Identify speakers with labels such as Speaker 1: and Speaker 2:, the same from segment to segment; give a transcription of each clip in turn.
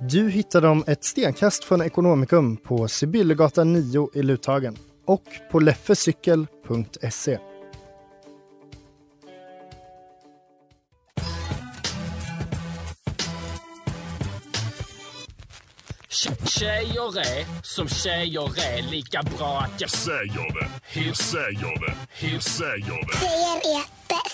Speaker 1: Du hittar dem ett stenkast från Ekonomikum på Sibyllegatan 9 i Luthagen och på leffecykel.se.
Speaker 2: Tjejer är som tjejer är lika bra att jag säger det. Jag säger det. Jag säger det.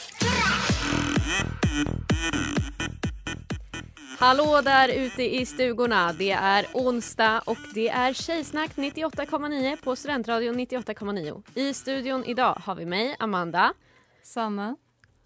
Speaker 3: Hallå där ute i stugorna! Det är onsdag och det är Tjejsnack 98,9 på Studentradion 98,9. I studion idag har vi mig, Amanda.
Speaker 4: Sanna.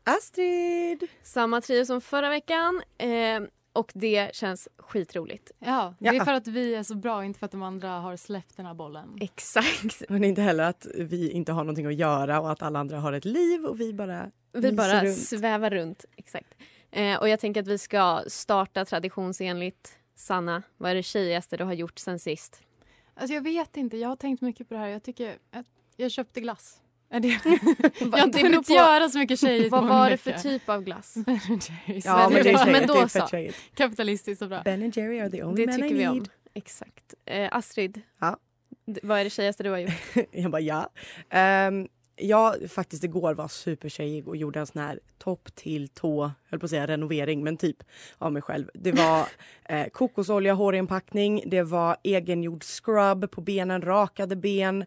Speaker 5: Astrid!
Speaker 3: Samma trio som förra veckan eh, och det känns skitroligt.
Speaker 4: Ja, det
Speaker 6: Ja.
Speaker 4: är för att vi är så bra, inte för att de andra har släppt den här bollen.
Speaker 3: Eh. Exakt.
Speaker 6: Men inte heller att vi inte har någonting att göra och att alla andra har ett liv och vi bara...
Speaker 3: Vi
Speaker 6: Lyser
Speaker 3: bara
Speaker 6: runt.
Speaker 3: svävar runt. Exakt. Eh, och jag tänker att vi ska starta traditionsenligt. Sanna, vad är det tjejigaste du har gjort sen sist?
Speaker 4: Alltså jag vet inte, jag har tänkt mycket på det här. Jag tycker att jag köpte glass. Är det... jag har inte
Speaker 3: Det beror
Speaker 4: hunnit
Speaker 3: på-
Speaker 4: göra så mycket tjejigt
Speaker 3: Vad
Speaker 4: på
Speaker 3: var
Speaker 4: en
Speaker 3: det för
Speaker 4: vecka.
Speaker 3: typ av glass?
Speaker 6: Mm.
Speaker 4: Ja, men det är
Speaker 3: tjejigt.
Speaker 4: tjejigt.
Speaker 3: men då
Speaker 6: det är
Speaker 3: så.
Speaker 6: fett tjejigt.
Speaker 4: Kapitalistiskt och bra.
Speaker 6: Ben Jerry are the only
Speaker 3: Det
Speaker 6: men
Speaker 3: tycker vi
Speaker 6: I need.
Speaker 3: om. Exakt. Eh, Astrid,
Speaker 6: Ja.
Speaker 3: d- vad är det tjejigaste du har gjort?
Speaker 6: Jag bara ja. Ehm, jag faktiskt igår var supertjejig och gjorde en sån här topp till tå, höll på att säga renovering, men typ av mig själv. Det var eh, kokosolja, hårinpackning, det var egengjord scrub på benen, rakade ben,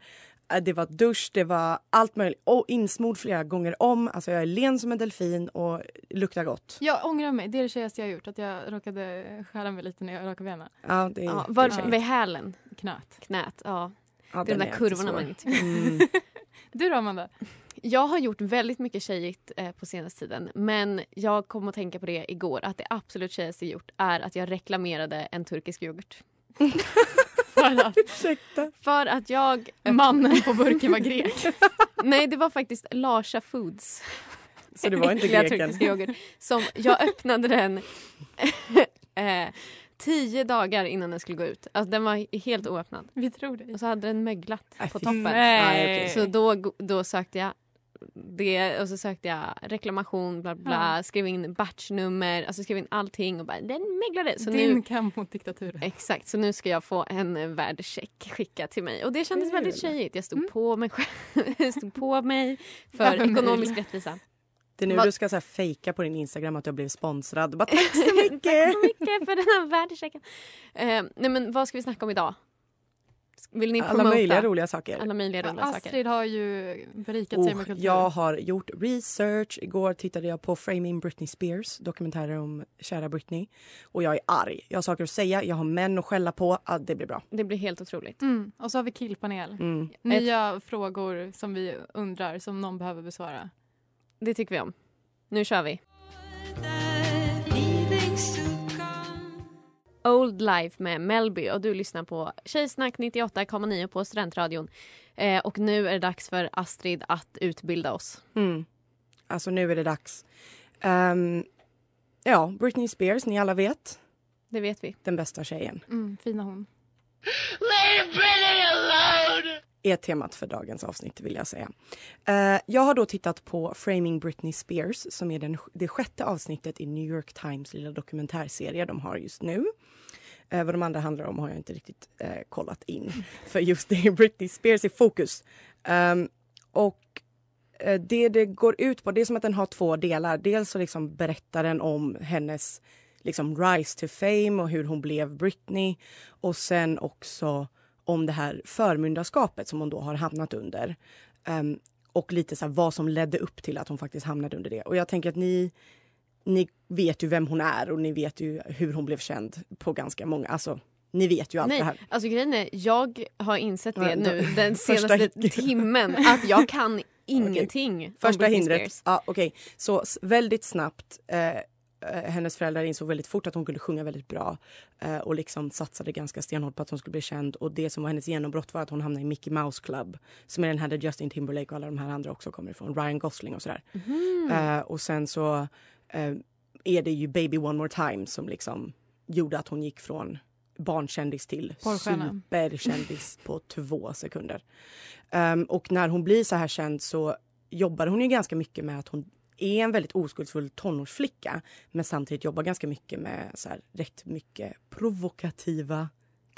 Speaker 6: eh, det var dusch, det var allt möjligt. Och insmord flera gånger om. Alltså jag är len som en delfin och luktar gott.
Speaker 4: Jag ångrar mig, det är det tjejigaste jag har gjort. Att jag råkade skära mig lite när jag rakade benen.
Speaker 6: Ja, det är
Speaker 3: Ja, var,
Speaker 6: tjejigt.
Speaker 3: vid hälen,
Speaker 4: Knät.
Speaker 3: knät. Ja. Det
Speaker 6: Ja,
Speaker 3: är
Speaker 6: den
Speaker 3: de
Speaker 6: är
Speaker 3: där
Speaker 6: inte
Speaker 3: kurvorna
Speaker 6: svår.
Speaker 3: man inte tycker om.
Speaker 6: Mm.
Speaker 4: Du då Amanda?
Speaker 3: Jag har gjort väldigt mycket tjejigt eh, på senaste tiden. Men jag kom att tänka på det igår. Att det absolut tjejigaste jag gjort är att jag reklamerade en turkisk yoghurt. för, att,
Speaker 6: Ursäkta.
Speaker 3: för att jag...
Speaker 4: Mannen på burken var grek.
Speaker 3: Nej, det var faktiskt Larsa Foods.
Speaker 6: Så det var inte
Speaker 3: Äckliga
Speaker 6: greken.
Speaker 3: turkiska yoghurt. Som jag öppnade den eh, tio dagar innan den skulle gå ut. Alltså, den var helt oöppnad.
Speaker 4: Vi tror dig.
Speaker 3: Och så hade den möglat
Speaker 6: Äh,
Speaker 3: på
Speaker 6: fy.
Speaker 3: toppen.
Speaker 6: Nej, okej.
Speaker 3: Så då, go- då sökte jag det och så sökte jag reklamation, bla bla, bla skrev in batchnummer, alltså skrev in allting och bara den möglade. Så
Speaker 4: Din
Speaker 3: nu,
Speaker 4: kamp mot diktaturen.
Speaker 3: exakt, så nu ska jag få en eh, värdecheck skickad till mig. Och det kändes
Speaker 6: Kul. Mm.
Speaker 3: väldigt tjejigt. Jag stod på mig själv, jag stod på mig för
Speaker 4: Även
Speaker 3: ekonomisk
Speaker 4: mig.
Speaker 3: rättvisa.
Speaker 6: Det är nu
Speaker 3: Vad-
Speaker 6: du ska så här fejka på din Instagram att du har blivit sponsrad. Bara, Tack så mycket!
Speaker 3: Tack så mycket för den här värdechecken. Eh, nej men vad ska vi snacka om idag? Vill ni promota?
Speaker 6: Alla möjliga roliga saker.
Speaker 3: Alla möjliga Eh, roliga saker. Oh,
Speaker 4: Astrid har ju berikat sig med
Speaker 6: Och
Speaker 4: kultur.
Speaker 6: jag har gjort research. Igår tittade jag på Framing Britney Spears, dokumentärer om kära Britney. Och jag är arg. Jag har saker att säga, jag har män att skälla på. Ah, det blir bra.
Speaker 3: Det blir helt otroligt.
Speaker 4: Mm. Och så har vi killpanel.
Speaker 6: Mm.
Speaker 4: Nya frågor som vi undrar, som någon behöver besvara.
Speaker 3: Det tycker vi om. Nu kör vi. Old Life med Melby och du lyssnar på Tjejsnack 98,9 på Studentradion. Eh, och nu är det dags för Astrid att utbilda oss.
Speaker 6: Mm. Alltså nu är det dags. Ehm, ja, Britney Spears, ni alla vet.
Speaker 3: Det vet vi.
Speaker 6: Den bästa tjejen.
Speaker 4: Mm, fina hon.
Speaker 6: är temat för dagens avsnitt vill jag säga. Eh, jag har då tittat på Framing Britney Spears som är den, det sjätte avsnittet i New York Times lilla dokumentärserie de har just nu. Eh, vad de andra handlar om har jag inte riktigt eh, kollat in. För just det är Britney Spears i fokus. Ehm, och eh, det det går ut på, det är som att den har två delar. Dels så liksom berättar den om hennes liksom rise to fame och hur hon blev Britney och sen också om det här förmyndarskapet som hon då har hamnat under. Ehm, och lite så här vad som ledde upp till att hon faktiskt hamnade under det. Och jag tänker att ni, ni vet ju vem hon är och ni vet ju hur hon blev känd på ganska många, alltså ni vet ju allt
Speaker 3: Nej,
Speaker 6: det här.
Speaker 3: Alltså grejen är, jag har insett det
Speaker 6: Ja,
Speaker 3: nu
Speaker 6: då-
Speaker 3: den
Speaker 6: första
Speaker 3: senaste
Speaker 6: hindret.
Speaker 3: timmen att jag kan ingenting om
Speaker 6: Första
Speaker 3: Britney
Speaker 6: hindret.
Speaker 3: Spears.
Speaker 6: Ja, okej. Så s- väldigt snabbt. Eh, eh, hennes föräldrar insåg väldigt fort att hon kunde sjunga väldigt bra eh, och liksom satsade ganska stenhårt på att hon skulle bli känd. Och det som var hennes genombrott var att hon hamnade i Mickey Mouse Club som är den här där Justin Timberlake och alla de här andra också kommer ifrån. Ryan Gosling och sådär.
Speaker 4: Mm.
Speaker 6: Eh, och sen så eh, är det ju Baby One More Time som liksom gjorde att hon gick från barnkändis till
Speaker 4: Porrstjärna.
Speaker 6: superkändis på två sekunder. Ehm, och när hon blir så här känd så jobbar hon ju ganska mycket med att hon är en väldigt oskuldsfull tonårsflicka men samtidigt jobbar ganska mycket med så här, rätt mycket provokativa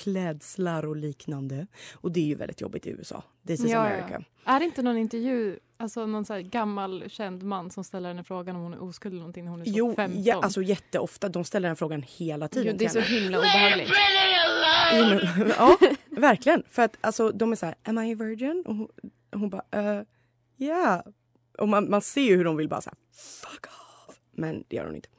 Speaker 6: klädslar och liknande. Och det är ju väldigt jobbigt i USA. This is
Speaker 4: Ja, ja.
Speaker 6: America.
Speaker 4: Är det inte någon intervju, alltså någon så här gammal känd man som ställer henne frågan om hon är oskuld eller någonting när hon är så
Speaker 6: Jo,
Speaker 4: 15?
Speaker 6: ja, alltså jätteofta. De ställer den frågan hela tiden
Speaker 3: Jo, det är
Speaker 6: till
Speaker 3: så
Speaker 6: henne.
Speaker 3: himla obehagligt.
Speaker 6: Jo, men, ja, verkligen. För att alltså, de är så här, am I a virgin? Och hon, hon bara, eh, yeah. Och man, man ser ju hur de vill bara så här, fuck off. Men det gör hon inte.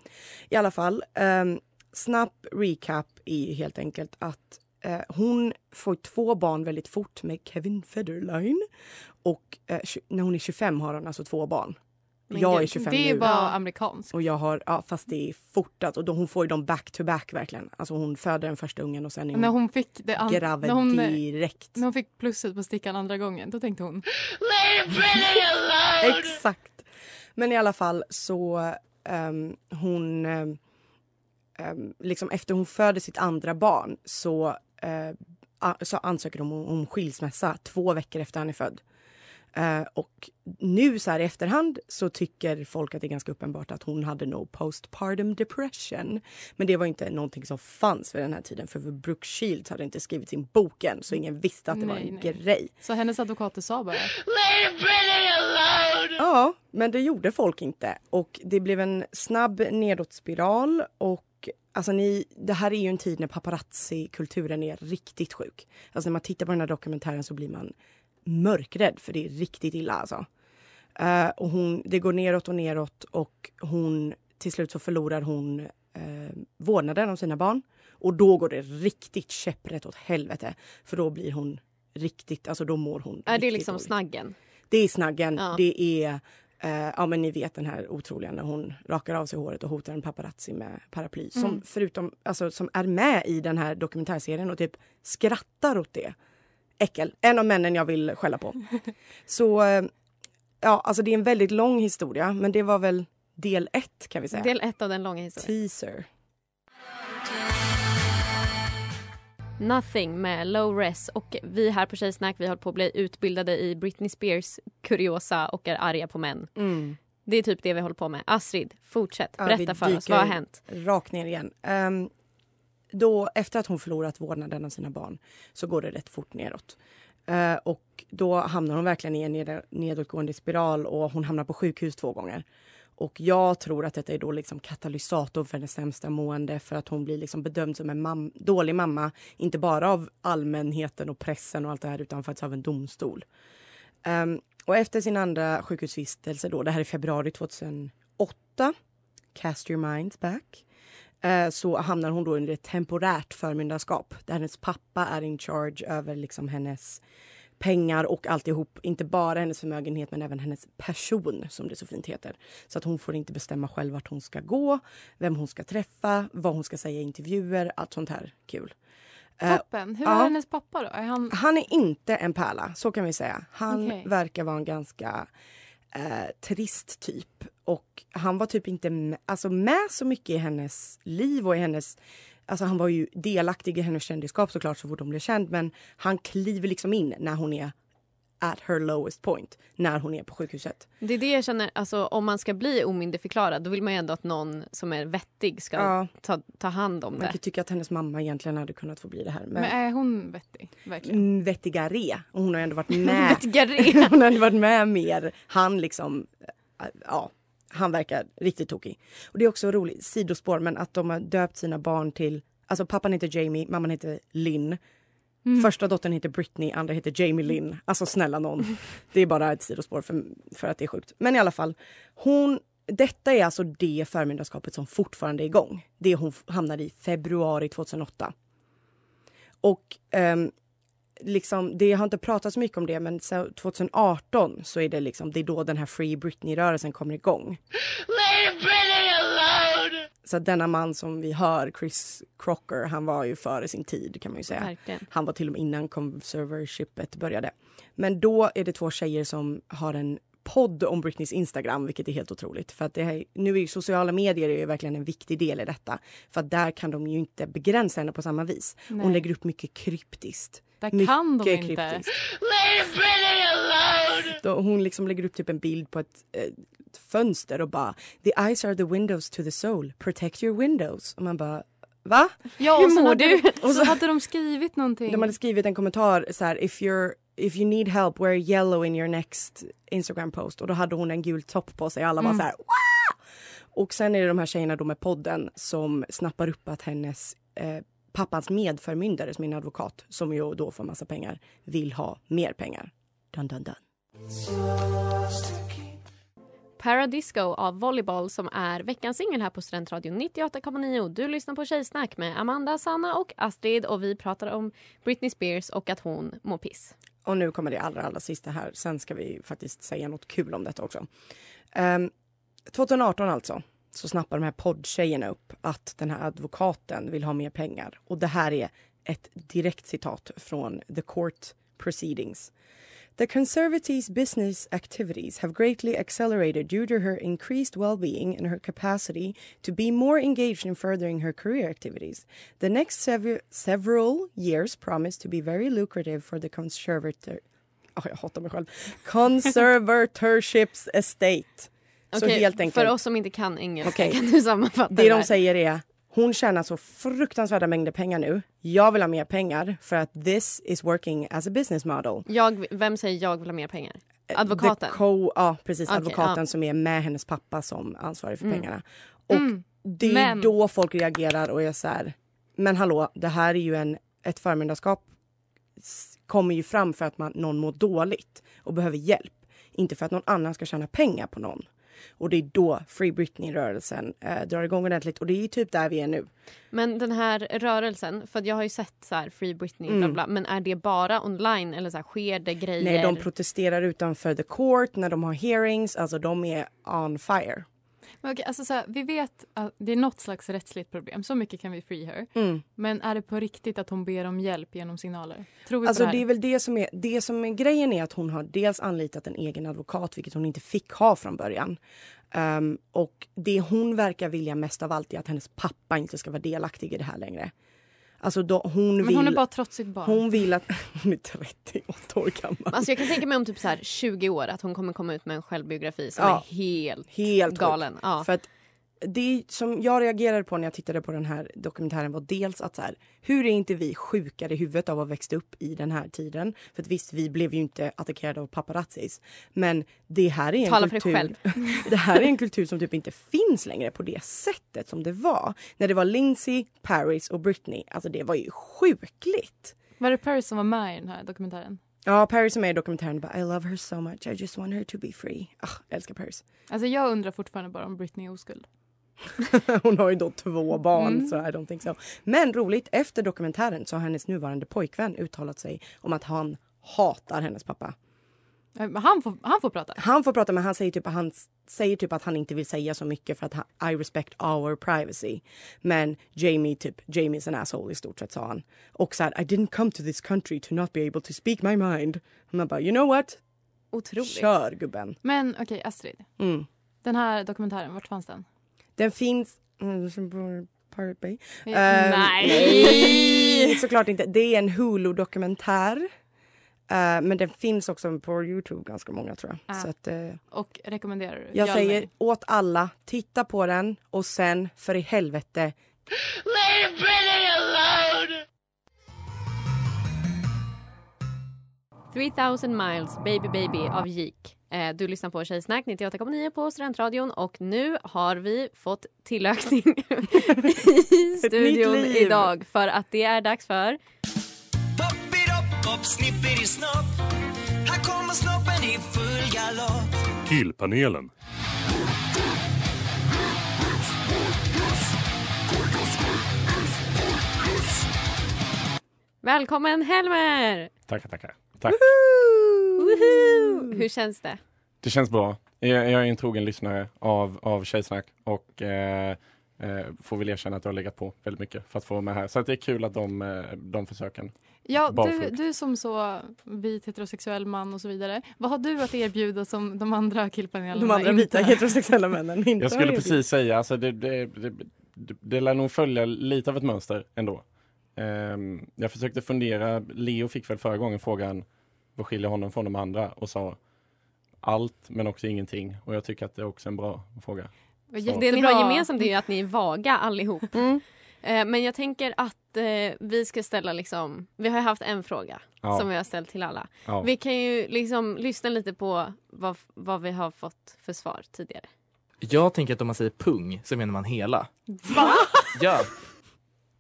Speaker 6: I alla fall, um, snabb recap är ju helt enkelt att eh, hon får två barn väldigt fort med Kevin Federline. Och eh, tju- när hon är 25 har hon alltså två barn.
Speaker 3: Men
Speaker 6: jag
Speaker 3: gud,
Speaker 6: är 25
Speaker 4: det är
Speaker 6: nu.
Speaker 4: ju bara amerikanskt.
Speaker 6: Och jag har, ja, fast det är fortat. Och de, hon får ju dem back to back verkligen. Alltså hon föder den första ungen och sen är hon,
Speaker 4: När hon fick det an-
Speaker 6: Mm. gravid
Speaker 4: när hon, när
Speaker 6: direkt.
Speaker 4: hon fick plusset på stickan andra gången, då tänkte hon
Speaker 6: Exakt. Men i alla fall så ehm, hon... ehm, ehm, liksom efter hon föder sitt andra barn så, eh, a- så ansöker hon om, om skilsmässa två veckor efter han är född. Eh, och nu så här i efterhand så tycker folk att det är ganska uppenbart att hon hade no postpartum depression. Men det var inte någonting som fanns vid den här tiden för Brooke Shields hade inte skrivit sin bok än så ingen visste att det var
Speaker 4: Nej,
Speaker 6: en
Speaker 4: nej.
Speaker 6: grej.
Speaker 4: Så hennes advokater sa bara
Speaker 6: Ja, men det gjorde folk inte. Och det blev en snabb nedåtspiral. Och alltså ni, det här är ju en tid när paparazzi-kulturen är riktigt sjuk. Alltså när man tittar på den här dokumentären så blir man mörkrädd för det är riktigt illa alltså. Eh, och hon, det går neråt och neråt och hon, till slut så förlorar hon eh, vårdnaden om sina barn. Och då går det riktigt käpprätt åt helvete. För då blir hon riktigt, alltså då mår hon
Speaker 3: Är det
Speaker 6: riktigt
Speaker 3: liksom
Speaker 6: dåligt.
Speaker 3: snaggen?
Speaker 6: Det är snaggen.
Speaker 3: Ja.
Speaker 6: Det är, eh, ja men ni vet den här otroliga när hon rakar av sig håret och hotar en paparazzi med paraply. Som
Speaker 3: Mm.
Speaker 6: förutom, alltså som är med i den här dokumentärserien och typ skrattar åt det. Äckel. En av männen jag vill skälla på. Så eh, ja, alltså det är en väldigt lång historia men det var väl del ett kan vi säga.
Speaker 3: Del ett av den långa historien.
Speaker 6: Teaser.
Speaker 3: Nothing med Low Res och vi här på Tjejsnack vi håller på att bli utbildade i Britney Spears kuriosa och är arga på män. Det är typ det vi håller på med. Astrid, fortsätt.
Speaker 6: Ja,
Speaker 3: Berätta
Speaker 6: vi
Speaker 3: för oss,
Speaker 6: dyker
Speaker 3: vad har hänt?
Speaker 6: Rakt ner igen. Ehm, då, efter att hon förlorat vårdnaden av sina barn så går det rätt fort neråt. Eh, och då hamnar hon verkligen i en ned- nedåtgående spiral och hon hamnar på sjukhus två gånger. Och jag tror att detta är då liksom katalysator för hennes sämsta mående för att hon blir liksom bedömd som en mam- dålig mamma. Inte bara av allmänheten och pressen och allt det här utan faktiskt av en domstol. Ehm, och efter sin andra sjukhusvistelse då, det här är februari 2008 Cast your minds back eh, så hamnar hon då under ett temporärt förmyndarskap där hennes pappa är in charge över liksom hennes pengar och alltihop. Inte bara hennes förmögenhet men även hennes person som det så fint heter. Så att hon får inte bestämma själv vart hon ska gå, vem hon ska träffa, vad hon ska säga i intervjuer, allt sånt här kul. Eh,
Speaker 4: toppen. Hur
Speaker 6: ja. Ah,
Speaker 4: är hennes pappa då? Är han...
Speaker 6: han är inte en pärla, så kan vi säga. Han
Speaker 4: Okej.
Speaker 6: verkar vara en ganska eh, trist typ. Och han var typ inte med, alltså med så mycket i hennes liv och i hennes... Alltså han var ju delaktig i hennes kändisskap såklart så fort hon blev känd men han kliver liksom in när hon är at her lowest point, när hon är på sjukhuset.
Speaker 3: Det är det jag känner, alltså, om man ska bli omyndigförklarad då vill man ju ändå att någon som är vettig ska
Speaker 6: Ja.
Speaker 3: ta, ta hand om
Speaker 6: Man
Speaker 3: det.
Speaker 6: kan tycka att hennes mamma egentligen hade kunnat få bli det här men,
Speaker 4: Men är hon vettig? Verkligen.
Speaker 6: Mm, vettigare. Och hon har ju ändå varit med
Speaker 3: Garé.
Speaker 6: hon hade varit med mer. Han liksom, äh, ja, han verkar riktigt tokig. Och det är också roligt, sidospår, men att de har döpt sina barn till, alltså pappan heter Jamie, mamman heter Lynn.
Speaker 4: Mm.
Speaker 6: Första dottern heter Britney, andra heter Jamie Lynn. Alltså snälla någon. Det är bara ett sidospår för, för att det är sjukt. Men i alla fall, hon, detta är alltså det förmyndarskapet som fortfarande är igång. Det hon f- hamnade i februari 2008. Och ehm, liksom, det har inte pratats så mycket om det men så 2018 så är det liksom, det är då den här Free Britney-rörelsen kommer igång. Så att denna man som vi hör, Chris Crocker, han var ju före sin tid kan man ju säga.
Speaker 3: Verkligen.
Speaker 6: Han var till och med innan conservatorshipet började. Men då är det två tjejer som har en podd om Britneys Instagram, vilket är helt otroligt. För att det här, nu är ju sociala medier är ju verkligen en viktig del i detta. För att där kan de ju inte begränsa henne på samma vis. Mm, Hon
Speaker 4: Nej.
Speaker 6: lägger upp mycket kryptiskt.
Speaker 4: Där
Speaker 6: Mycket
Speaker 4: kan de inte.
Speaker 6: Då hon liksom lägger upp typ en bild på ett, eh, ett fönster och bara “The eyes are the windows to the soul, protect your windows”. Och man bara “Va?”
Speaker 4: Ja,
Speaker 3: Hur
Speaker 4: och sen
Speaker 3: mår
Speaker 4: hade,
Speaker 3: du?
Speaker 4: Och så hade de skrivit någonting.
Speaker 6: De hade skrivit en kommentar så här if, you're, “If you need help, wear yellow in your next Instagram post” och då hade hon en gul topp på sig alla
Speaker 4: Mm.
Speaker 6: bara så här Wah! Och sen är det de här tjejerna då med podden som snappar upp att hennes eh, pappans medförmyndare som är en advokat som ju då får massa pengar vill ha mer pengar. Dun, dun, dun.
Speaker 3: Paradisco av Volleyball som är veckans singel här på Studentradion 98,9. Du lyssnar på Tjejsnack med Amanda, Sanna och Astrid och vi pratar om Britney Spears och att hon mår piss.
Speaker 6: Och nu kommer det allra, allra sista här. Sen ska vi faktiskt säga något kul om detta också. Ehm, 2018 alltså, så snappar de här poddtjejerna upp att den här advokaten vill ha mer pengar. Och det här är ett direkt citat från The Court Proceedings. The Conservatives' business activities have greatly accelerated due to her increased well-being and her capacity to be more engaged in furthering her career activities. The next sever- several years promise to be very lucrative for the conservator... Oh, jag hatar mig själv. Conservatorships estate. Så
Speaker 3: Okej,
Speaker 6: helt enkelt.
Speaker 3: För oss som inte kan engelska
Speaker 6: Okej.
Speaker 3: kan du sammanfatta
Speaker 6: Det de
Speaker 3: här?
Speaker 6: säger är hon tjänar så fruktansvärda mängder pengar nu. Jag vill ha mer pengar för att this is working as a business model.
Speaker 3: Jag, vem säger jag vill ha mer pengar?
Speaker 6: Eh,
Speaker 3: Advokaten?
Speaker 6: The co- ja, precis.
Speaker 3: Okej,
Speaker 6: advokaten
Speaker 3: ja.
Speaker 6: som är med hennes pappa som ansvarig för
Speaker 3: Mm.
Speaker 6: pengarna. Och
Speaker 4: Mm.
Speaker 6: det är
Speaker 4: Men-
Speaker 6: då folk reagerar och är så här, men hallå, det här är ju en, ett förmyndarskap s- kommer ju fram för att man, någon mår dåligt och behöver hjälp. Inte för att någon annan ska tjäna pengar på någon. Och det är då Free Britney-rörelsen eh, drar igång ordentligt och det är ju typ där vi är nu.
Speaker 3: Men den här rörelsen, för att jag har ju sett så här Free Britney bla
Speaker 6: Mm.
Speaker 3: bla, men är det bara online eller så här, sker det grejer?
Speaker 6: Nej, de protesterar utanför the court när de har hearings, alltså de är on fire.
Speaker 4: Men okej, alltså så här, vi vet att det är något slags rättsligt problem. Så mycket kan vi free her.
Speaker 6: Mm.
Speaker 4: Men är det på riktigt att hon ber om hjälp genom signaler? Tror vi
Speaker 6: Alltså
Speaker 4: på det
Speaker 6: det är
Speaker 4: här?
Speaker 6: väl det som är, det som är grejen är att hon har dels anlitat en egen advokat, vilket hon inte fick ha från början. Ehm, och det hon verkar vilja mest av allt är att hennes pappa inte ska vara delaktig i det här längre. Alltså då, hon
Speaker 4: Men
Speaker 6: vill...
Speaker 4: hon är bara trotsigt barn.
Speaker 6: hon vill att... Hon är 38 år gammal.
Speaker 3: Alltså jag kan tänka mig om typ så här 20 år att hon kommer komma ut med en självbiografi som
Speaker 6: Ja.
Speaker 3: är helt
Speaker 6: Helt sjukt.
Speaker 3: galen. Ja.
Speaker 6: För att det som jag reagerade på när jag tittade på den här dokumentären var dels att så här, hur är inte vi sjukare i huvudet av att växt upp i den här tiden? För att visst, vi blev ju inte attackerade av paparazzis, men det här är en
Speaker 3: Tala för dig
Speaker 6: kultur.
Speaker 3: själv.
Speaker 6: det här är en kultur som typ inte finns längre på det sättet som det var när det var Lindsay, Paris och Britney. Alltså det var ju sjukligt.
Speaker 4: Var det Paris som var med i den här dokumentären?
Speaker 6: Ja, Paris som är med i dokumentären bara I love her so much, I just want her to be free. Ah, jag älskar Paris.
Speaker 4: Alltså jag undrar fortfarande bara om Britney är oskuld.
Speaker 6: Hon har ju då två barn,
Speaker 4: Mm.
Speaker 6: så I don't think so. Men roligt, efter dokumentären så har hennes nuvarande pojkvän uttalat sig om att han hatar hennes pappa.
Speaker 4: Eh, men Han får, han får prata.
Speaker 6: Han får prata, men han säger typ, han säger typ att han inte vill säga så mycket för att han, I respect our privacy. Men Jamie, typ, Jamie's an asshole i stort sett, sa han. Och så här, I didn't come to this country to not be able to speak my mind. Man bara, you know what?
Speaker 3: Otroligt.
Speaker 6: Kör gubben.
Speaker 4: Men okej, Astrid.
Speaker 6: Mm.
Speaker 4: Den här dokumentären, vart fanns den?
Speaker 6: Den finns... Mm, som bor- Pirate Bay.
Speaker 4: Eh,
Speaker 6: Ehm,
Speaker 3: nej.
Speaker 6: nej, Såklart inte. Det är en Hulu-dokumentär. Eh, men den finns också på Youtube, ganska många tror jag.
Speaker 4: Ah.
Speaker 6: Så att, eh, jag
Speaker 4: Och rekommenderar du? Ja,
Speaker 6: säger
Speaker 4: nej.
Speaker 6: åt alla, titta på den och sen för i helvete
Speaker 3: Three thousand miles, Baby Baby av Geek. Eh, Du lyssnar på Tjejsnack 98,9 på Studentradion och nu har vi fått tillökning i studion
Speaker 6: liv.
Speaker 3: idag för att det är dags för
Speaker 7: Puppy snopp, snipperi snopp. Här kommer snoppen i full galopp.
Speaker 8: Killpanelen.
Speaker 3: Välkommen Helmer!
Speaker 9: Tackar, tackar. Tack.
Speaker 3: Woho! Hur känns det?
Speaker 9: Det känns bra. Jag, jag är en trogen lyssnare av, av Tjejsnack och eh, eh, får väl erkänna att jag har legat på väldigt mycket för att få vara med här. Så att det är kul att de, eh, de försöken.
Speaker 4: Ja, du,
Speaker 9: Barfota.
Speaker 4: du som så vit heterosexuell man och så vidare. Vad har du att erbjuda som de andra killpanelerna
Speaker 6: De andra
Speaker 4: inte
Speaker 6: vita
Speaker 4: har?
Speaker 6: heterosexuella männen inte
Speaker 9: Jag
Speaker 6: har
Speaker 9: skulle
Speaker 6: gjort.
Speaker 9: precis säga, alltså det, det, det, det, det lär nog följa lite av ett mönster ändå. Ehm, jag försökte fundera, Leo fick väl förra gången frågan vad skiljer honom från de andra och sa allt men också ingenting och jag tycker att det är också en bra fråga.
Speaker 3: Det
Speaker 9: Så-
Speaker 3: ni har gemensamt är ju att ni är vaga allihop.
Speaker 9: Mm.
Speaker 3: Eh, Men jag tänker att eh, vi ska ställa liksom, vi har ju haft en fråga
Speaker 9: Ja.
Speaker 3: som vi har ställt till alla.
Speaker 9: Ja.
Speaker 3: Vi kan ju liksom lyssna lite på vad, vad vi har fått för svar tidigare.
Speaker 10: Jag tänker att om man säger pung så menar man hela.
Speaker 3: Va?
Speaker 10: Ja.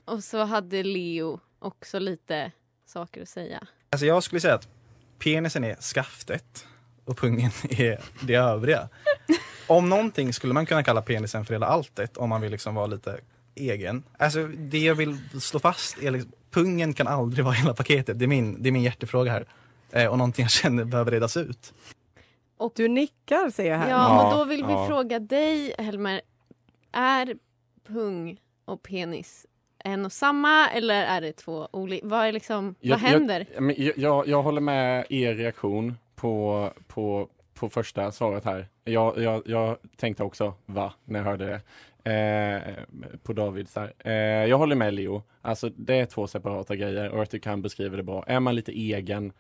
Speaker 3: Och så hade Leo också lite saker att säga.
Speaker 11: Alltså jag skulle säga att penisen är skaftet och pungen är det övriga. Om någonting skulle man kunna kalla penisen för hela alltet om man vill liksom vara lite egen. Alltså det jag vill slå fast är liksom, pungen kan aldrig vara hela paketet. Det är min, det är min hjärtefråga här. Eh, och någonting jag känner behöver redas ut.
Speaker 6: Du nickar säger jag
Speaker 3: Ja,
Speaker 6: här.
Speaker 3: men då vill vi
Speaker 11: ja.
Speaker 3: fråga dig Helmer, är pung och penis en och samma eller är det två olika? Vad är liksom, vad händer?
Speaker 9: Jag, men jag, jag, jag håller med er reaktion på, på, på första svaret här. Jag, jag, jag tänkte också va, när jag hörde det. Eh, på Davids där. Eh, jag håller med Leo. Alltså det är två separata grejer och jag tycker han beskriver det bra. Är man lite egen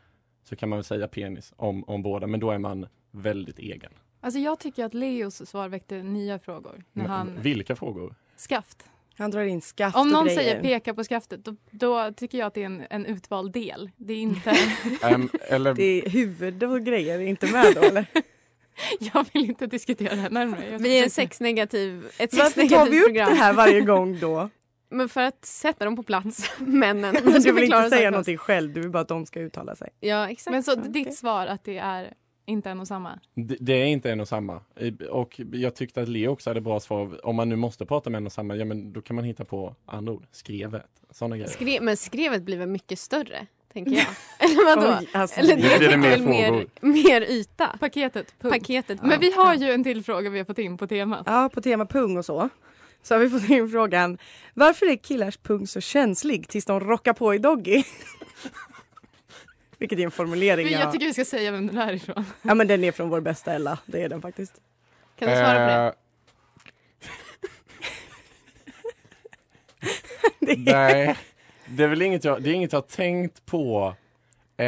Speaker 9: så kan man väl säga penis om, om båda, men då är man väldigt egen.
Speaker 4: Alltså jag tycker att Leos svar väckte nya frågor. När
Speaker 9: Mm.
Speaker 4: han...
Speaker 9: Vilka frågor?
Speaker 4: Skaft.
Speaker 6: Han drar in skaft
Speaker 4: Om
Speaker 6: och
Speaker 4: någon
Speaker 6: grejer.
Speaker 4: säger peka på skaftet, då, då tycker jag att det är en, en utvald del. Det är inte...
Speaker 9: Ehm, eller...
Speaker 6: Det är huvud och grejer inte med då eller?
Speaker 4: jag vill inte diskutera det här närmare. Jag
Speaker 3: Vi är en sexnegativ, ett
Speaker 6: Varför tar vi
Speaker 3: sexnegativt
Speaker 6: upp det
Speaker 3: program.
Speaker 6: här varje gång då?
Speaker 3: Men för att sätta dem på plats, männen. som
Speaker 6: Du vill
Speaker 3: förklarar
Speaker 6: inte
Speaker 3: saker för
Speaker 6: säga
Speaker 3: oss.
Speaker 6: någonting själv, du vill bara att de ska uttala sig.
Speaker 3: Ja, exakt.
Speaker 4: Men så ditt svar att det är inte en och samma?
Speaker 9: Det, det är inte en och samma. Eh, Och jag tyckte att Leo också hade bra svar. Om man nu måste prata med en och samma, ja men då kan man hitta på andra ord. Skrevet, sådana grejer.
Speaker 3: Skre men skrevet blir väl mycket större, tänker jag. Eller vadå?
Speaker 9: Oj, alltså.
Speaker 3: Eller
Speaker 9: Nu blir det
Speaker 3: tänker
Speaker 9: mer
Speaker 3: väl mer,
Speaker 9: frågor.
Speaker 3: mer yta.
Speaker 4: Paketet. Punkt.
Speaker 3: Paketet.
Speaker 4: Men vi har ju en till fråga vi har fått in på temat.
Speaker 6: Ja, på tema pung och så. Så har vi fått in frågan, varför är killars pung så känslig tills de rockar på i Doggy? Vilket är en formulering
Speaker 4: Men jag tycker vi ska säga vem den är ifrån.
Speaker 6: Ja men den är från vår bästa Ella, det är den faktiskt.
Speaker 4: Kan du svara på det?
Speaker 9: Eh, Nej, det är väl inget jag, det är inget jag har tänkt på. Eh,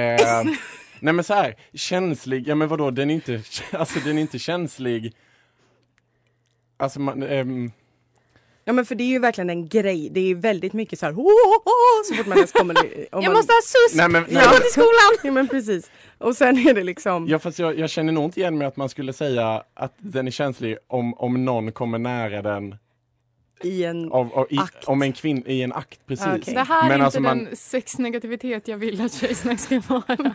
Speaker 9: nej men så här, känslig, ja men vadå, den är inte, alltså den är inte känslig. Alltså man, ehm,
Speaker 6: Ja men för det är ju verkligen en grej, det är väldigt mycket så här "Åh, åh, åh", så fort man ens kommer. om
Speaker 9: Jag
Speaker 6: man...
Speaker 9: måste ha susp! Nej, men- nej. Jag går till
Speaker 6: skolan! Ja men precis. Och sen är det liksom
Speaker 9: Ja fast jag, jag känner nog inte igen mig att man skulle säga att den är känslig om, om någon kommer nära den
Speaker 6: i en
Speaker 9: av, av, i, om en kvinn i en akt precis.
Speaker 4: Det här är
Speaker 9: Men
Speaker 4: inte
Speaker 9: alltså man,
Speaker 4: den sexnegativitet jag vill att tjejsnack ska vara.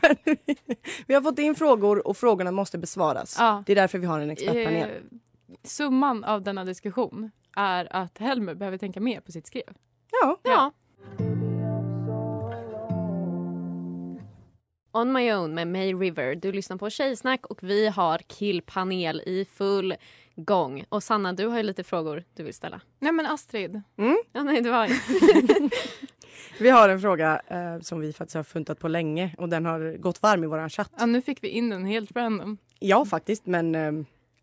Speaker 6: Vi har fått in frågor och frågorna måste besvaras.
Speaker 4: Ja.
Speaker 6: Det är därför vi har en expertpanel.
Speaker 4: Eh, summan av denna diskussion är att Helmer behöver tänka mer på sitt skrev.
Speaker 6: Ja.
Speaker 3: ja. On My Own med May River. Du lyssnar på Tjejsnack och vi har killpanel i full gång. Och Sanna, du har ju lite frågor du vill ställa.
Speaker 4: Nej men Astrid.
Speaker 6: Mm?
Speaker 3: Ja, nej, det var
Speaker 6: Vi har en fråga eh, som vi faktiskt har funtat på länge och den har gått varm i vår chatt.
Speaker 4: Ja, nu fick vi in den helt random.
Speaker 6: Ja faktiskt men eh,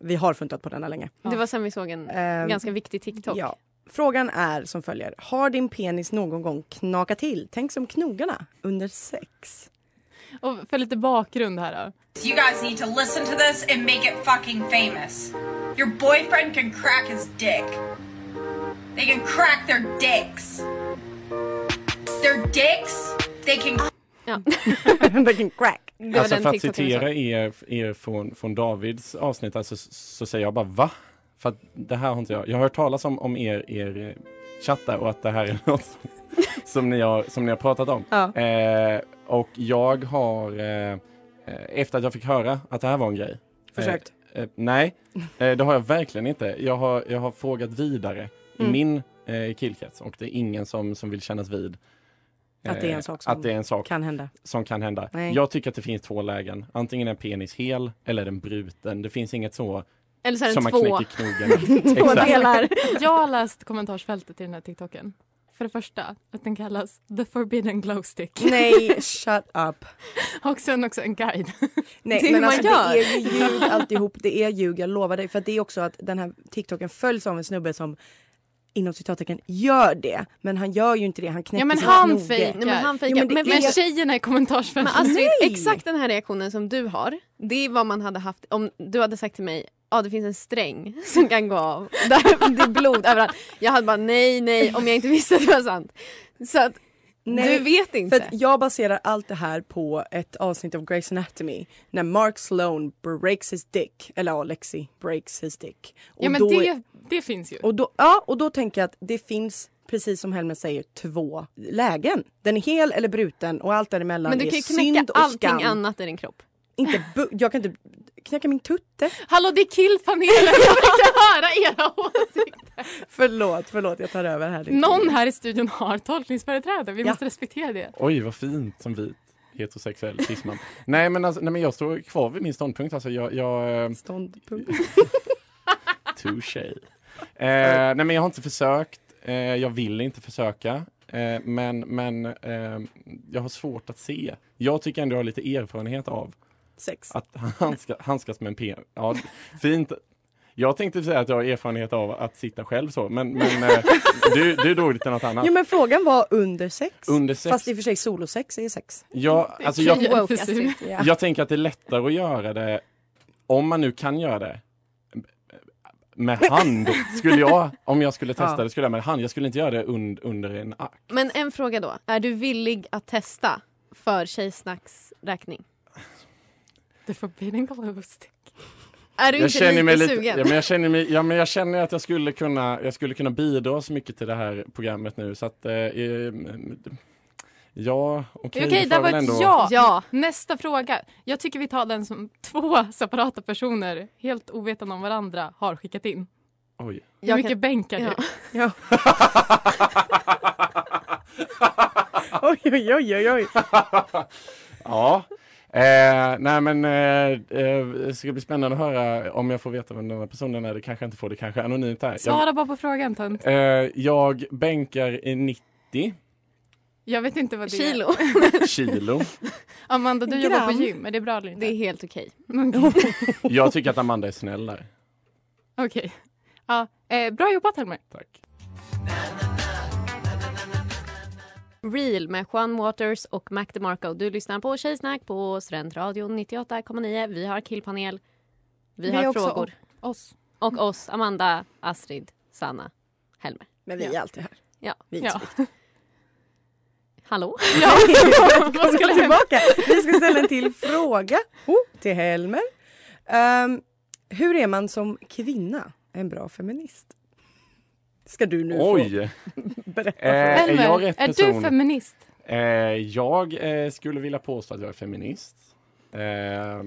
Speaker 6: vi har funtat på denna länge.
Speaker 3: Det var sen vi såg en
Speaker 6: Ehm,
Speaker 3: ganska viktig TikTok.
Speaker 6: Ja. Frågan är som följer. Har din penis någon gång knakat till? Tänk som knogarna under sex.
Speaker 4: Och för lite bakgrund här då.
Speaker 12: You guys need to listen to this and make it fucking famous. Your boyfriend can crack his dick. They can crack their dicks. Their dicks, they can.
Speaker 6: they can crack.
Speaker 9: alltså för att citera er, er från, från Davids avsnitt alltså, så, så säger jag bara va? För att det här har inte jag, jag har hört talas om, om er, er chattar och att det här är något som, som, ni, har, som ni har pratat om.
Speaker 6: Ja.
Speaker 9: Eh, och jag har, eh, eh, efter att jag fick höra att det här var en grej.
Speaker 6: Försökt.
Speaker 9: Eh, eh, nej, eh, det har jag verkligen inte. Jag har, jag har frågat vidare
Speaker 6: Mm.
Speaker 9: i min eh, killkrets och det är ingen som, som vill kännas vid
Speaker 6: Att det är en
Speaker 9: eh,
Speaker 6: sak som
Speaker 9: att det är en sak
Speaker 6: kan hända.
Speaker 9: som kan hända.
Speaker 6: Nej.
Speaker 9: Jag tycker att det finns två lägen. Antingen är en penis hel eller är den bruten. Det finns inget så
Speaker 3: Eller så är den
Speaker 9: som man
Speaker 3: två.
Speaker 9: knäcker knogen.
Speaker 4: Två
Speaker 9: Exakt.
Speaker 4: delar. Jag har läst kommentarsfältet i den här TikToken. För det första, att den kallas The Forbidden Glow Stick.
Speaker 6: Mm. Nej, shut up.
Speaker 4: Och sen också en guide.
Speaker 6: Nej,
Speaker 4: Det är hur
Speaker 6: men
Speaker 4: man
Speaker 6: alltså,
Speaker 4: gör.
Speaker 6: det är ju ljug alltihop. Det är ljug, jag lovar dig. För att det är också att den här TikToken följs av en snubbe som inom citattecken gör det. Men han gör ju inte det. Han knäcker
Speaker 4: Ja men
Speaker 6: sina
Speaker 4: han
Speaker 6: knogar.
Speaker 4: fejkar.
Speaker 3: Nej, men han fejkar.
Speaker 6: Jo, men det
Speaker 3: Men- men
Speaker 6: är-
Speaker 4: Tjejerna i
Speaker 3: Men
Speaker 4: kommentarsfältet.
Speaker 3: Astrid, alltså, exakt den här reaktionen som du har, det är vad man hade haft om du hade sagt till mig Ja ah, det finns en sträng som kan gå av. Där, det är blod överallt. Jag hade bara nej nej om jag inte visste att det var sant. Så att
Speaker 6: Nej,
Speaker 3: du vet inte.
Speaker 6: För att jag baserar allt det här på ett avsnitt av Grey's Anatomy när Mark Sloan breaks his dick, eller ja, Lexi breaks his dick.
Speaker 4: Ja men
Speaker 6: då-
Speaker 4: det, det finns ju.
Speaker 6: Och då, ja, och då tänker jag att det finns, precis som Helmer säger, två lägen. Den är hel eller bruten och allt däremellan
Speaker 3: Men du kan
Speaker 6: är
Speaker 3: ju knäcka
Speaker 6: synd och
Speaker 3: allting
Speaker 6: skam.
Speaker 3: annat i din kropp.
Speaker 6: Inte bu- jag kan inte knäcka min tutte.
Speaker 4: Hallå det är killpanelen, jag vill inte höra era åsikter.
Speaker 6: Förlåt, förlåt jag tar över
Speaker 3: Liksom.
Speaker 6: här.
Speaker 4: Någon här i studion har tolkningsföreträde, vi
Speaker 6: Ja.
Speaker 4: måste respektera det.
Speaker 9: Oj, vad fint som vit heterosexuell cisman. nej, men alltså, nej, men jag står kvar vid min ståndpunkt. Alltså, jag, jag, eh,
Speaker 6: Ståndpunkt.
Speaker 9: Touché. Eh, nej, men jag har inte försökt. Eh, jag vill inte försöka. Eh, men men eh, jag har svårt att se. Jag tycker ändå jag har lite erfarenhet av
Speaker 6: Sex.
Speaker 9: att handska, handskas med en p. Ja, fint. Jag tänkte säga att jag har erfarenhet av att sitta själv så, men, men eh, du, du drog det till något annat.
Speaker 6: Jo men frågan var under sex.
Speaker 9: Under sex.
Speaker 6: Fast i och för sig solosex är sex.
Speaker 9: Ja, alltså
Speaker 6: Okej,
Speaker 9: jag,
Speaker 6: woke, Astrid. Ja.
Speaker 9: jag tänker att det är lättare att göra det om man nu kan göra det med hand. Skulle jag, om jag skulle testa
Speaker 3: Ja.
Speaker 9: det, skulle jag med hand. Jag skulle inte göra det und, under en app.
Speaker 3: Men en fråga då, är du villig att testa för tjejsnacks räkning?
Speaker 4: The forbidden glow stick.
Speaker 3: Är du
Speaker 9: jag
Speaker 3: inte
Speaker 9: känner
Speaker 3: lite
Speaker 9: mig lite,
Speaker 3: sugen?
Speaker 9: ja, men jag känner mig, ja, men jag känner att jag skulle kunna, jag skulle kunna bidra så mycket till det här programmet nu så att eh, eh, ja, okej.
Speaker 4: Okej,
Speaker 9: vi
Speaker 4: där
Speaker 9: får
Speaker 4: var
Speaker 9: väl
Speaker 4: ett
Speaker 9: ändå-
Speaker 4: ja. Nästa fråga. Jag tycker vi tar den som två separata personer, helt ovetande om varandra, har skickat in.
Speaker 9: Oj.
Speaker 4: Hur
Speaker 6: Jag
Speaker 4: mycket
Speaker 6: kan-
Speaker 4: bänkar du?
Speaker 6: Ja. oj, oj, oj, oj, oj.
Speaker 9: Ja. Eh, nej men eh, eh, det ska bli spännande att höra om jag får veta vem den här personen är. Det kanske jag inte får, det kanske är anonymt här.
Speaker 4: Svara bara på frågan, tönt.
Speaker 9: Jag, eh, jag bänkar i 90
Speaker 4: Jag vet inte vad det
Speaker 3: Kilo.
Speaker 4: är.
Speaker 9: kilo.
Speaker 4: Amanda, du jobbar på
Speaker 3: Gram.
Speaker 4: gym. Är det bra eller inte?
Speaker 3: Det är helt okej.
Speaker 4: Okej.
Speaker 9: Jag tycker att Amanda är snällare.
Speaker 4: Okej. Ja, eh, bra jobbat, Helmer.
Speaker 9: Tack.
Speaker 3: Real med Juan Waters och Mac DeMarco. Du lyssnar på Tjejsnack på Studentradion 98,9. Vi har killpanel. Vi,
Speaker 4: Vi
Speaker 3: har
Speaker 4: är också
Speaker 3: frågor.
Speaker 4: Oss.
Speaker 3: Och oss, Amanda, Astrid, Sanna, Helmer.
Speaker 6: Men vi är alltid här.
Speaker 3: Ja.
Speaker 6: Vi är
Speaker 3: ja.
Speaker 6: ja.
Speaker 3: Hallå?
Speaker 6: Ja,
Speaker 3: Vad skulle
Speaker 6: Välkommen
Speaker 3: hända?
Speaker 6: tillbaka. Vi ska ställa en till fråga oh, till Helmer. Ehm, hur är man som kvinna en bra feminist? Ska du nu få
Speaker 9: Oj!
Speaker 6: berätta.
Speaker 9: Eh, är
Speaker 4: Helmer,
Speaker 9: jag rätt
Speaker 4: är
Speaker 9: person?
Speaker 4: du feminist?
Speaker 9: Eh, jag eh, skulle vilja påstå att jag är feminist. Eh,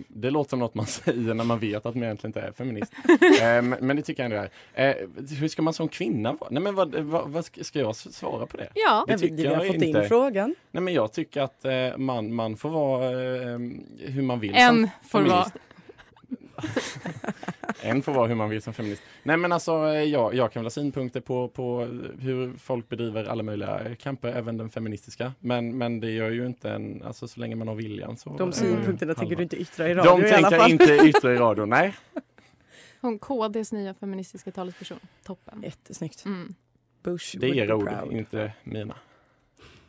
Speaker 9: det låter som något man säger när man vet att man egentligen inte är feminist. Eh, men, men det tycker jag ändå är. Eh, hur ska man som kvinna vara? Nej men vad, vad, vad ska ska jag s- svara på det?
Speaker 3: Ja.
Speaker 9: det
Speaker 6: Men vi-
Speaker 9: tycker
Speaker 6: vi har
Speaker 9: jag
Speaker 6: fått in
Speaker 9: inte.
Speaker 6: frågan.
Speaker 9: Nej men jag tycker att eh, man, man får vara eh, hur man vill.
Speaker 4: En
Speaker 9: som
Speaker 4: får
Speaker 9: feminist.
Speaker 4: vara.
Speaker 9: En får vara hur man vill som feminist. Nej men alltså eh, jag, jag kan väl ha synpunkter på, på hur folk bedriver alla möjliga eh, kamper, även den feministiska. Men, men det gör ju inte en, alltså så länge man har viljan så.
Speaker 6: De
Speaker 9: är det ju
Speaker 6: synpunkterna
Speaker 9: halva.
Speaker 6: tänker du inte yttra i radio
Speaker 9: De
Speaker 6: i alla
Speaker 9: tänker
Speaker 6: fall.
Speaker 9: inte yttra i radio, nej.
Speaker 4: Hon KDs nya feministiska talesperson. Toppen.
Speaker 6: Jättesnyggt.
Speaker 4: Mm.
Speaker 6: Bush
Speaker 9: Det är
Speaker 6: would be
Speaker 9: era ord,
Speaker 6: proud.
Speaker 9: inte mina.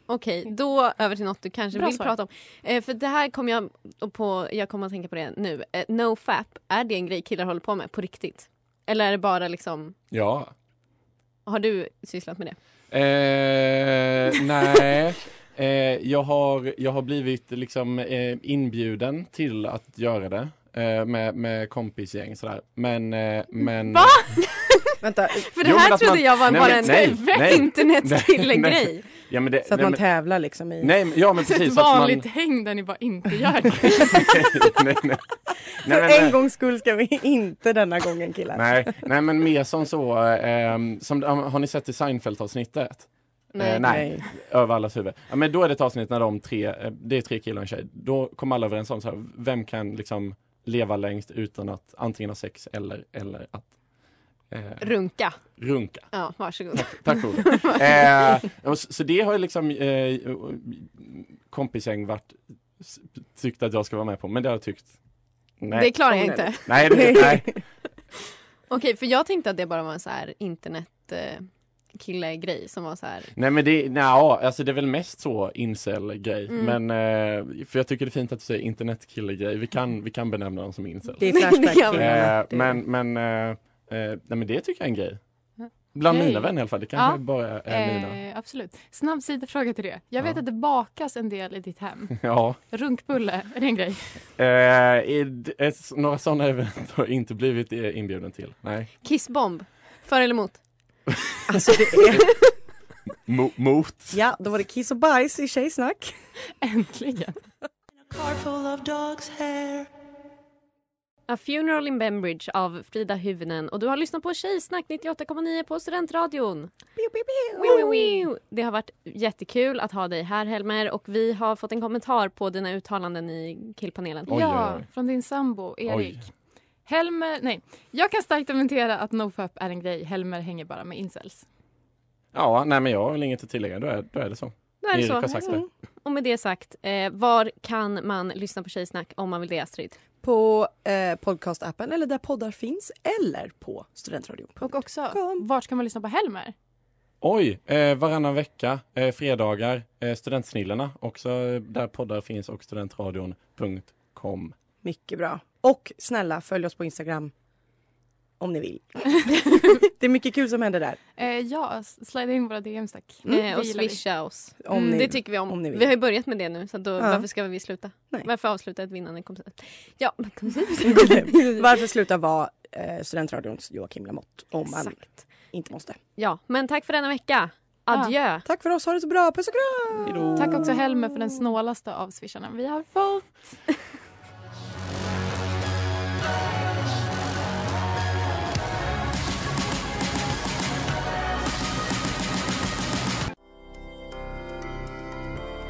Speaker 3: Okej, då över till något du kanske
Speaker 4: Bra
Speaker 3: vill
Speaker 4: svar.
Speaker 3: prata om. Eh, för det här kom
Speaker 9: Mm.
Speaker 3: jag på, jag kommer att tänka på det nu. Eh, NoFap, är det en grej killar håller på med på riktigt? Eller är det bara liksom,
Speaker 9: Ja.
Speaker 3: har du sysslat med det?
Speaker 9: Eh, nej. Eh, jag, har, jag har blivit liksom eh, inbjuden till att göra det eh, med, med kompisgäng sådär. Men, eh, men...
Speaker 3: Va?
Speaker 6: Vänta.
Speaker 3: För det här trodde jag var bara en internetkille-grej.
Speaker 9: Ja, men det,
Speaker 6: Så att
Speaker 9: nej,
Speaker 6: man
Speaker 9: men-
Speaker 6: tävlar liksom i...
Speaker 9: Nej, men- ja, men precis,
Speaker 4: Ett
Speaker 9: så att man-
Speaker 4: vanligt häng där ni bara inte gör det.
Speaker 9: nej, nej.
Speaker 6: För
Speaker 9: Nej, nej,
Speaker 6: en
Speaker 9: nej.
Speaker 6: gångs skull ska vi inte denna gången killar.
Speaker 9: Nej, nej, men mer som så. ehm, som, har ni sett i Seinfeld-avsnittet?
Speaker 6: Nej.
Speaker 9: Eh, nej. Över allas huvud. Ja, men då är det ett avsnitt när de tre, eh, det är tre killar och en tjej. Då kommer alla överens om så här, vem kan liksom leva längst utan att antingen ha sex eller, eller att eh,
Speaker 3: Runka.
Speaker 9: runka.
Speaker 3: Ja, varsågod.
Speaker 9: Tack för ordet. eh, och så, så det har ju liksom eh, kompisgäng varit, s- tyckt att jag ska vara med på, men det har jag tyckt Nej.
Speaker 3: Det klarar jag inte.
Speaker 9: Nej, det, nej.
Speaker 3: Okej, för jag tänkte att det bara var en så här internetkille-grej som var så här.
Speaker 9: Nej men det, nej, ja, alltså det är väl mest så incel-grej.
Speaker 3: Mm.
Speaker 9: Men, eh, för jag tycker det är fint att du säger internetkille-grej. Vi kan, vi kan benämna dem som incel.
Speaker 6: Det är Flashback. Det kan vi göra.
Speaker 9: eh, men, men, eh, eh, nej, men det tycker jag är en grej. Bland
Speaker 4: Okej.
Speaker 9: mina vänner i alla fall. Det kanske bara är mina.
Speaker 4: eh, Absolut. Snabb sidofråga till det. Jag vet
Speaker 9: Ja.
Speaker 4: att det bakas en del i ditt hem.
Speaker 9: Ja.
Speaker 4: Runkbulle, är det en grej?
Speaker 9: Eh, är det- är s- några sådana event har jag inte blivit eh, inbjuden till. Nej.
Speaker 3: Kissbomb. För eller emot?
Speaker 6: Alltså det är...
Speaker 9: Mo- mot.
Speaker 6: Ja, då var det kiss och bajs i tjejsnack.
Speaker 4: Äntligen.
Speaker 7: Car full of dog's hair.
Speaker 3: A Funeral in Bembridge av Frida Hyvönen och du har lyssnat på Tjejsnack 98,9 på Studentradion. Wiu, wiu, wiu. Det har varit jättekul att ha dig här Helmer och vi har fått en kommentar på dina uttalanden i killpanelen.
Speaker 4: ja, från din sambo Erik. Helmer, nej. Jag kan starkt dementera att nofap är en grej. Helmer hänger bara med incels.
Speaker 9: Ja, nej men jag har väl inget att tillägga. Då är, då är det så.
Speaker 3: Då är det
Speaker 9: Erik
Speaker 3: så.
Speaker 9: har sagt det.
Speaker 3: Och med det sagt, eh, var kan man lyssna på Tjejsnack om man vill det Astrid?
Speaker 6: På eh, podcastappen eller där poddar finns eller på studentradion.
Speaker 4: Och också, vart kan man lyssna på Helmer?
Speaker 9: Oj, eh, varannan vecka, eh, fredagar, eh, Studentsnillena också eh, där poddar finns och studentradion.com.
Speaker 6: Mycket bra. Och snälla följ oss på Instagram om ni vill. det är mycket kul som händer där.
Speaker 4: Eh, ja, s- slida in våra DMs tack.
Speaker 6: Mm.
Speaker 3: Eh, och
Speaker 4: Det gillar vi.
Speaker 3: swisha oss.
Speaker 6: Om
Speaker 3: Mm,
Speaker 6: ni-
Speaker 3: det tycker vi om.
Speaker 6: om ni vill.
Speaker 3: vi har ju börjat med det nu så då,
Speaker 6: Ja.
Speaker 3: varför ska vi sluta? Varför avsluta ett vinnande koncept? Ja,
Speaker 6: Varför sluta vara eh, studentradions Joakim Lamotte om man inte måste.
Speaker 3: ja, men tack för denna vecka. Adjö.
Speaker 6: Tack för oss, ha det så bra. Puss och kram!
Speaker 4: Tack också Helmer för den snålaste av swisharna vi har fått.